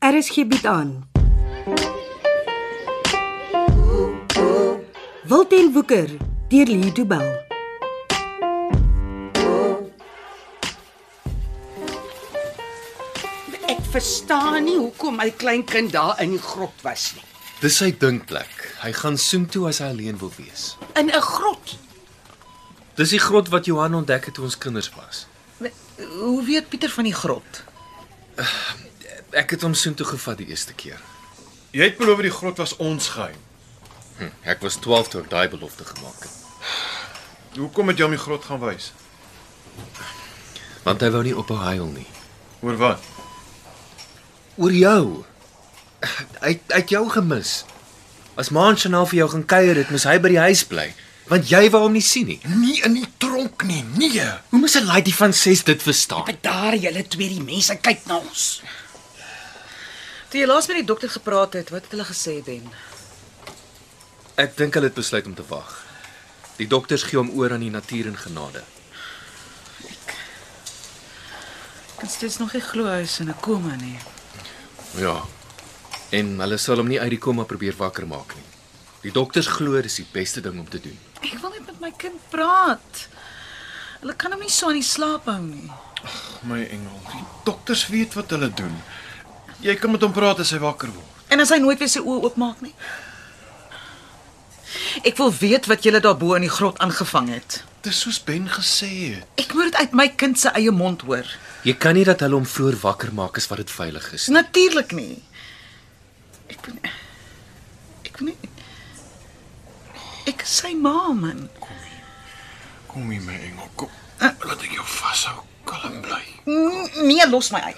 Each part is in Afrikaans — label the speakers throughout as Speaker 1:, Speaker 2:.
Speaker 1: RSG bied Er aan. Wilten Woeker deur Lee Du Bell.
Speaker 2: Ek verstaan nie hoekom my kleinkind daar in die grot was nie.
Speaker 3: Dis sy dinkplek. Hy gaan soen toe as hy alleen wil wees.
Speaker 2: In 'n grot.
Speaker 3: Dis die grot wat Johan ontdek het toe ons kinders was.
Speaker 4: Hoe weet Pieter van die grot?
Speaker 3: Eh, Ek het hom soen toe gevat die eerste keer.
Speaker 5: Jy het beloof die grot was ons geheim.
Speaker 3: Hm, ek was 12 toe ek daai belofte gemaak het,
Speaker 5: Hoekom het jy hom die grot gaan wys?
Speaker 3: want hy wou nie ophou huil nie.
Speaker 5: Oor wat?
Speaker 3: Oor jou. Hy hy het jou gemis. As Maan Chanel vir jou gaan kuier, dit moes hy by die huis bly, want jy wou hom nie sien nie.
Speaker 5: Nie in die tronk nie. Nee.
Speaker 3: Hoe moes 'n laidie van 6 dit verstaan?
Speaker 2: Wat daar julle twee die mense kyk na ons.
Speaker 4: Toe jy laas met die dokter gepraat het, wat het hulle gesê Ben?
Speaker 3: Ek dink hulle het besluit om te wag. Die dokters gee hom oor aan die natuur en genade.
Speaker 4: Ek kan steeds nog nie glo hy is in 'n koma nie.
Speaker 3: Ja. En hulle sal hom nie uit die koma probeer wakker maak nie. Die dokters glo dis die beste ding om te doen.
Speaker 4: Ek wil net met my kind praat. Hulle kan hom nie so aan die slaap hou nie.
Speaker 5: My engel, die dokters weet wat hulle doen. Jy kan met hom praat as hy wakker word.
Speaker 4: En as hy nooit weer sy oë oopmaak nie. Ek wil weet wat julle daarbo in die grot aangevang het.
Speaker 5: Dis soos Ben gesê het.
Speaker 4: Ek moet dit uit my kind se eie mond hoor.
Speaker 3: Jy kan nie dat hulle hom vroeër wakker maak as wat dit veilig is nie.
Speaker 4: Natuurlik nie. Ek wil Ek wil nie Ek is sy ma man.
Speaker 5: Kom hier my engel, kom. Laat ek jou vashou, kalm bly.
Speaker 4: N- Nee, los my uit.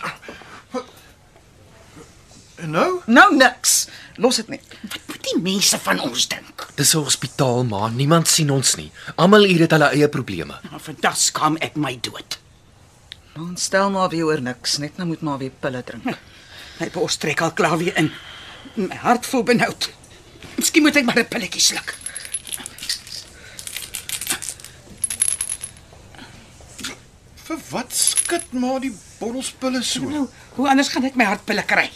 Speaker 5: En nou?
Speaker 4: Nou niks. Los dit net.
Speaker 2: Wat moet die mense van ons dink?
Speaker 3: Dis 'n hospitaal, maar niemand sien ons nie. Almal hier het hulle eie probleme.
Speaker 2: Nou vandag skaam ek my dood.
Speaker 4: Ons Nou, stel maar weer oor niks, net nou moet maar weer pille drink.
Speaker 2: My bors trek al klaar weer in. My hart voel benoud. Miskien moet ek maar 'n pilletjie sluk.
Speaker 5: Vir wat skud maar die bottelspille so?
Speaker 2: Nou, hoe anders gaan ek my hartpille kry?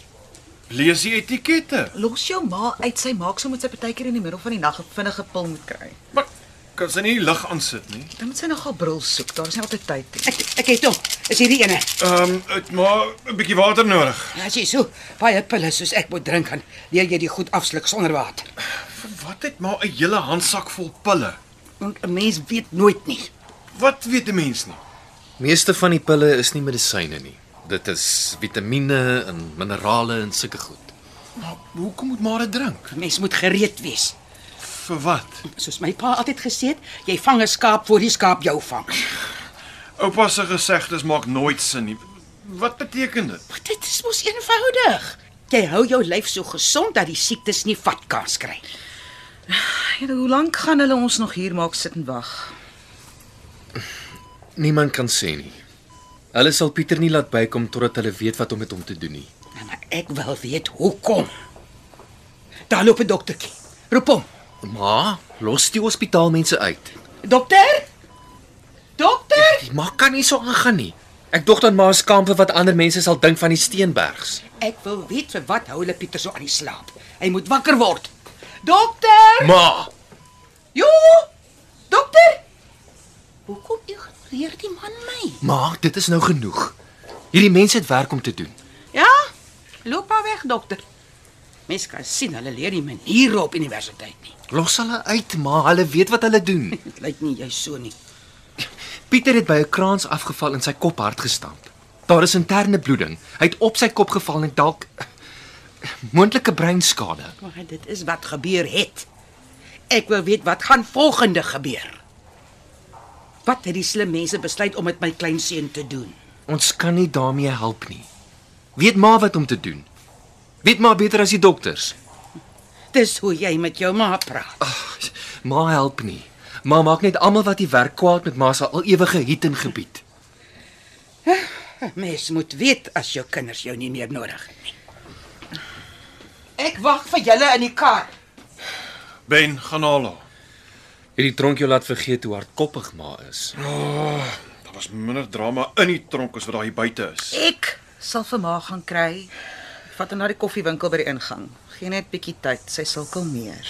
Speaker 5: Lees die etikette.
Speaker 4: Los jou ma uit. Sy maak so met sy partykeer in die middel van die nag 'n vinnige pil moet kry.
Speaker 5: Maar kan sy nie die lig aan sit nie?
Speaker 4: Dan moet sy nogal bril soek. Daar is nie altyd tyd nie.
Speaker 2: Ek ek het hom. Is hierdie ene. Ja,
Speaker 5: Ehm, um, maar 'n bietjie water nodig.
Speaker 2: As jy so baie pille soos ek moet drink kan, leer jy die goed afsluk sonder water.
Speaker 5: Vir wat het maar 'n hele handsak vol pille?
Speaker 2: Want 'n mens weet nooit nie.
Speaker 5: Wat weet 'n mens nie?
Speaker 3: Meeste van die pille is nie medisyne nie. Dit is vitamiene en minerale en sulke goed.
Speaker 5: Maar hoekom moet maar dit drink?
Speaker 2: 'n Mens moet gereed wees.
Speaker 5: Vir wat?
Speaker 2: Soos my pa altyd gesê het, jy vang 'n skaap voor die skaap jou vang.
Speaker 5: Oupa se gesegdes maak nooit sin nie. Wat beteken dit?
Speaker 2: Maar dit is mos eenvoudig. Jy hou jou lyf so gesond dat die siektes nie vat kans kry.
Speaker 4: Here, Ja, hoe lank gaan hulle ons nog hier maak sit en wag?
Speaker 3: Niemand kan sê nie. Hulle sal Pieter nie laat bykom totdat hulle weet wat om met hom te doen nie.
Speaker 2: Ja, Maar ek wil weet hoekom. Daar loop 'n doktertjie. Roep hom.
Speaker 3: Ma, los die hospitaalmense uit.
Speaker 2: Dokter? Dokter?
Speaker 3: Die ma kan nie so aangaan nie. Ek dog dan ma skaam vir wat ander mense sal dink van die Steenbergs.
Speaker 2: Ek wil weet vir wat hou hulle Pieter so aan die slaap. Hy moet wakker word. Dokter?
Speaker 3: Ma,
Speaker 2: Jo! Dokter? Hoekom ignoreer die man my?
Speaker 3: ma, dit is nou genoeg. Hierdie mense het werk om te doen.
Speaker 2: Ja? Loop maar weg, dokter. Mens kan sien hulle leer nie maniere op universiteit nie.
Speaker 3: Los hulle uit, ma. Hulle weet wat hulle doen.
Speaker 2: Dit lyk nie jy so nie.
Speaker 3: Pieter het by 'n kraans afgeval en sy kop hard gestamp. Daar is interne bloeding. Hy het op sy kop geval en dalk moontlike breinskade.
Speaker 2: Maar dit is wat gebeur het. Ek wil weet wat gaan volgende gebeur. Wat het die slim mense besluit om met my kleinseun te doen?
Speaker 3: Ons kan nie daarmee help nie. Weet maar wat om te doen. Weet maar beter as die dokters.
Speaker 2: Dis hoe jy met jou ma praat.
Speaker 3: Ag, ma help nie. Ma maak net almal wat die werk kwaad met ma se al ewige hiet en gebied.
Speaker 2: Mens moet weet as jou kinders jou nie meer nodig het nie. Ek wag vir julle in die kar.
Speaker 5: Ben, gaan haal haar.
Speaker 3: Het die tronk jou laat vergeet hoe hardkoppig ma is.
Speaker 5: Daar was minder drama in die tronk as wat daar hier buite is.
Speaker 4: Ek sal vir ma gaan kry. Vat hom na die koffiewinkel by die ingang. Geen net bietjie tyd, sy sal kalmeer.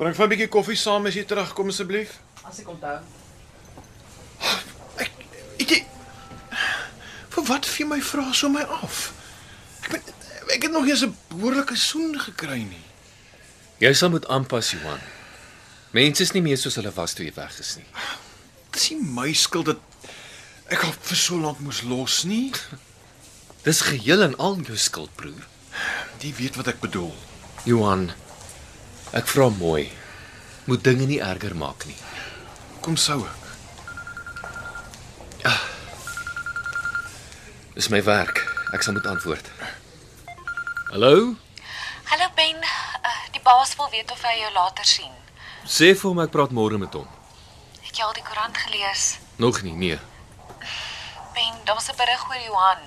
Speaker 5: Bring vir 'n bietjie koffie saam as jy terugkom asseblief.
Speaker 4: As ek onthou.
Speaker 5: Ek ek jy- vir wat vir my vra so my af? Ek ben, ek het nog nie eens 'n behoorlike soen gekry nie.
Speaker 3: Jy sal moet aanpas, Johan. Mense is nie meer soos hulle was toe jy weg is nie.
Speaker 5: Dis nie my skuld dat ek haar vir so lank moes los nie.
Speaker 3: Dis geheel en al jou skuld, broer.
Speaker 5: Jy weet wat ek bedoel.
Speaker 3: Johan, ek vra mooi. Moet dinge nie erger maak nie.
Speaker 5: Kom sou ek.
Speaker 3: Dis my werk. Ek sal moet antwoord. Hallo?
Speaker 6: Hallo Ben, uh, die baas wil weet of hy jou later sien.
Speaker 3: Sê vir hom ek praat môre met hom.
Speaker 6: Het jy al die koerant gelees?
Speaker 3: Nog nie, nee.
Speaker 6: Ben, daar's 'n berig oor Johan.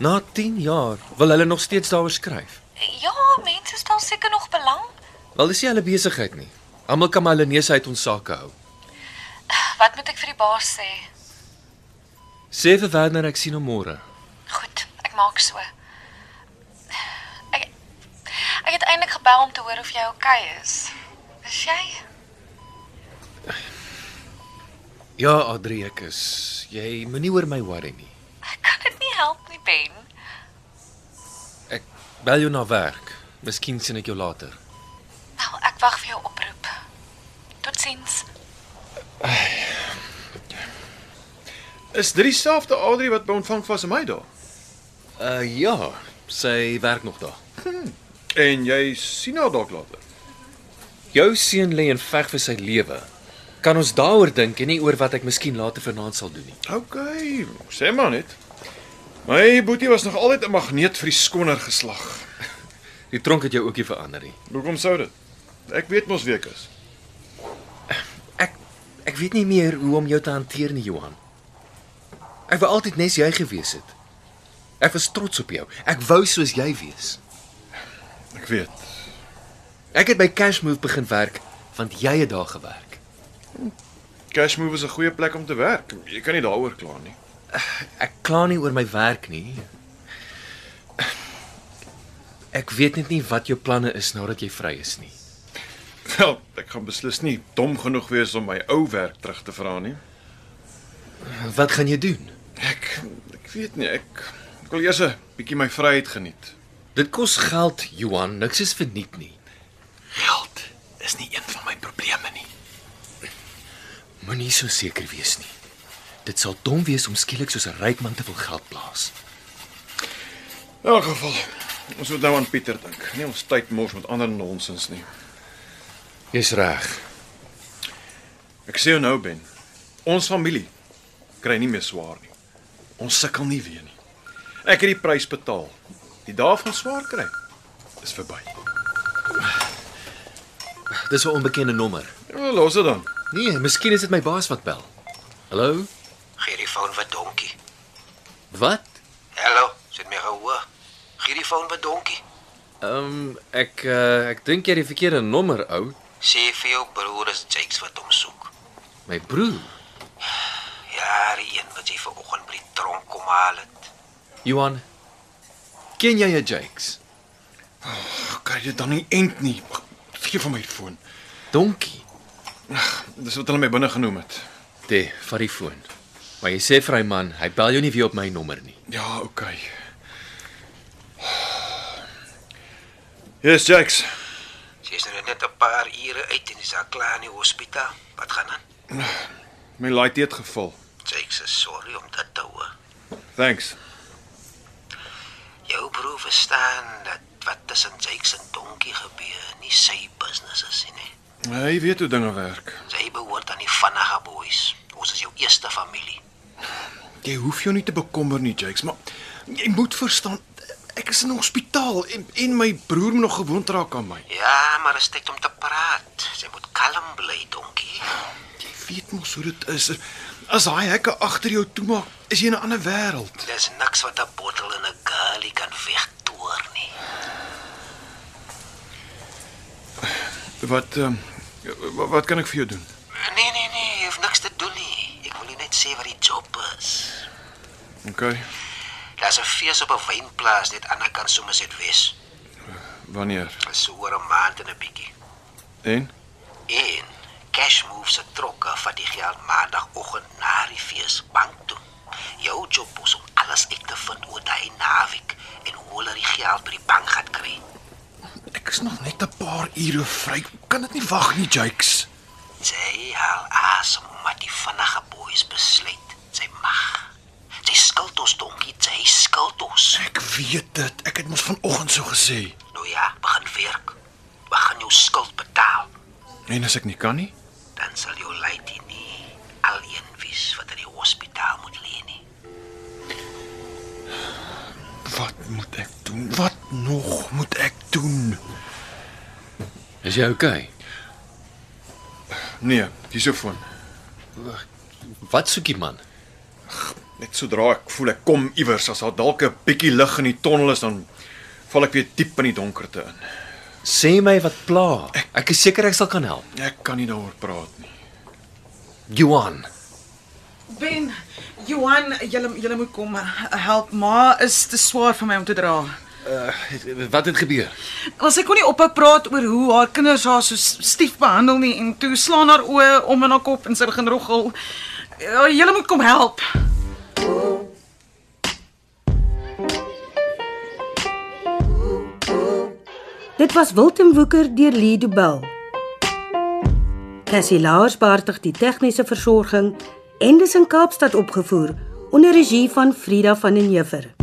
Speaker 3: Na 10 jaar wil hulle nog steeds daaroor skryf.
Speaker 6: Ja, mense stel seker nog belang.
Speaker 3: Wel, dis nie hulle besigheid nie. Almal kan maar hulle neuse uit ons sake hou.
Speaker 6: Wat moet ek vir die baas sê?
Speaker 3: Sê vir Werner ek sien hom môre.
Speaker 6: Goed, ek maak so. Ek ek het eintlik gebel om te hoor of jy oukei okay is. Is jy?
Speaker 3: Ja, Adrie, ek is. Jy moenie oor my worry nie.
Speaker 6: Ek kan dit nie help nie, Ben.
Speaker 3: Ek bel jou na werk. Miskien sien ek jou later.
Speaker 6: Nou, ek wag vir jou oproep. Totsiens.
Speaker 5: Is dit dieselfde Adri wat by ontvang was in my dae?
Speaker 3: Uh ja, sy werk nog daar.
Speaker 5: En jy sien haar dalk later.
Speaker 3: Jou seun lê en veg vir sy lewe. Kan ons daaroor dink en nie oor wat ek miskien later vanaand sal doen nie.
Speaker 5: OK, sê maar net. My boetie was nog altyd 'n magneet vir die skoner geslag.
Speaker 3: Die tronk het jou ookie verander nie.
Speaker 5: Hoekom sou dit? Ek weet mos wie ek is.
Speaker 3: Ek ek weet nie meer hoe om jou te hanteer nie, Johan. Ek wou altyd nes jy gewees het. Ek was trots op jou. Ek wou soos jy wees.
Speaker 5: Ek weet.
Speaker 3: Ek het by Cashmove begin werk want jy het daar gewerk.
Speaker 5: Cashmove is 'n goeie plek om te werk. Jy kan nie daaroor kla nie.
Speaker 3: Ek kla nie oor my werk nie. Ek weet net nie wat jou planne is nadat jy vry is nie.
Speaker 5: Wel, ek gaan beslis nie dom genoeg wees om my ou werk terug te vra nie.
Speaker 3: Wat gaan jy doen?
Speaker 5: Ek ek weet nie. Ek, ek wil eers 'n bietjie my vryheid geniet.
Speaker 3: Dit kos geld, Johan. Niks is verniet nie.
Speaker 5: Geld is nie een van my probleme nie.
Speaker 3: Moenie so seker wees nie. Dit sal dom wees om skielik soos 'n ryk man te wil geld plaas.
Speaker 5: In elk geval, ons moet nou aan Pieter dink. Nie ons tyd mors met ander nonsens nie.
Speaker 3: Jy's reg.
Speaker 5: Ek sê jou nou Ben, ons familie kry nie meer swaar nie. Ons sukkel nie weer nie. Ek het die prys betaal. Die dae van swaar kry is verby.
Speaker 3: Dis 'n onbekende nommer.
Speaker 5: Ja, los dit dan.
Speaker 3: Nee, miskien is dit my baas wat bel. Hallo?
Speaker 7: Gee die foon vir Donkie.
Speaker 3: Wat?
Speaker 7: Hallo, sit my gehoor. Gee die foon vir Donkie.
Speaker 3: Ehm um, ek uh, ek dink jy het die verkeerde nommer, ou.
Speaker 7: Sê vir jou broer is Jakes wat hom soek.
Speaker 3: My broer.
Speaker 7: Ja, die een wat jy vanoggend by die tronk kom haal het.
Speaker 3: Johan. Ken jy 'n Jakes?
Speaker 5: Kry dit dan nie end nie. Gee vir my die foon.
Speaker 3: Donkie.
Speaker 5: Dis wat hulle my binne genoem het.
Speaker 3: Dit, vat die foon. Maar jy sê vir hy man, hy bel jou nie weer op my nommer nie.
Speaker 5: Ja, okay. Yes, Jax.
Speaker 7: Sy is nou net 'n paar ure uit en is al klaar in die hospitaal. Wat gaan aan?
Speaker 5: My laai teet geval.
Speaker 7: Jakes is sorry om dit te hoor.
Speaker 5: Thanks.
Speaker 7: Jou broer verstaan dat wat tussen Jakes en Donkie gebeur nie sy business is nie. né?
Speaker 5: Hy weet hoe dinge werk.
Speaker 7: Sy behoort aan die Vanaga boys. Ons is jou eerste familie.
Speaker 5: Jy hoef jou nie te bekommer nie, Jakes, maar jy moet verstaan, ek is in 'n hospitaal en en my broer moet nog gewoond raak aan my.
Speaker 7: Ja, maar dit is tyd om te praat. Sy moet kalm bly, donkie.
Speaker 5: Jy weet mos hoe dit is. As daai hekke agter jou toemaak, is jy in 'n ander wêreld.
Speaker 7: Daar's niks wat 'n bottel en 'n galie kan wegtoer nie.
Speaker 5: Wat ehm wa- wat kan ek vir jou doen?
Speaker 7: Nee, nee, nee, jy hoef niks te doen nie. Ek wil jou net sê wat die job is.
Speaker 5: Okay.
Speaker 7: Daar's 'n fees op 'n wynplaas net aan die ander kant Somerset Wes.
Speaker 5: Wanneer?
Speaker 7: Dit is so oor 'n maand en 'n bietjie.
Speaker 5: En
Speaker 7: En Cash Move se trokke vat die geld maandagooggend na die fees bank toe. Jou job is om alles ek te vind oor daai naweek en hoe hulle die geld by die bank gaan kry.
Speaker 5: ek is nog net 'n paar ure vry. Kan dit nie wag nie, Jakes.
Speaker 7: Sy haal asem omdat die vinnige boeis besluit. Sy mag. Sy skuld ons donkie, sy skuld ons.
Speaker 5: Ek weet dit. Ek het mos vanoggend so gesê.
Speaker 7: Nou ja, begin werk. Begin jou skuld betaal.
Speaker 5: En as ek nie kan nie?
Speaker 7: Dan sal jou laity nie alleen wees wat in die hospitaal moet lê nie.
Speaker 5: Wat moet ek doen? Wat nog moet ek doen?
Speaker 3: Is jy okay?
Speaker 5: Nee, hier's jou foon.
Speaker 3: Wat soek die man?
Speaker 5: Net sodra ek voel ek kom iewers, as daar dalk 'n bietjie lig in die tonnel is, dan val ek weer diep in die donkerte in.
Speaker 3: Sê my wat pla. Ek is seker ek sal kan help.
Speaker 5: Ek kan nie daaroor praat nie.
Speaker 3: Johan,
Speaker 4: Ben, Johan, julle julle moet kom eh, help. Ma is te swaar vir my om te dra.
Speaker 3: Eh, wat het gebeur?
Speaker 4: Ons ek kon nie ophou praat oor hoe haar kinders haar so s- stief behandel nie en toe slaan haar oë om in haar kop en sy begin roggel. Ja, Julle moet kom help.
Speaker 1: Dit was Wilten Woeker deur Lido Bell. Cassie Lars beheer die tegniese versorging en dis in Kaapstad opgevoer onder regie van Frida van den Heever.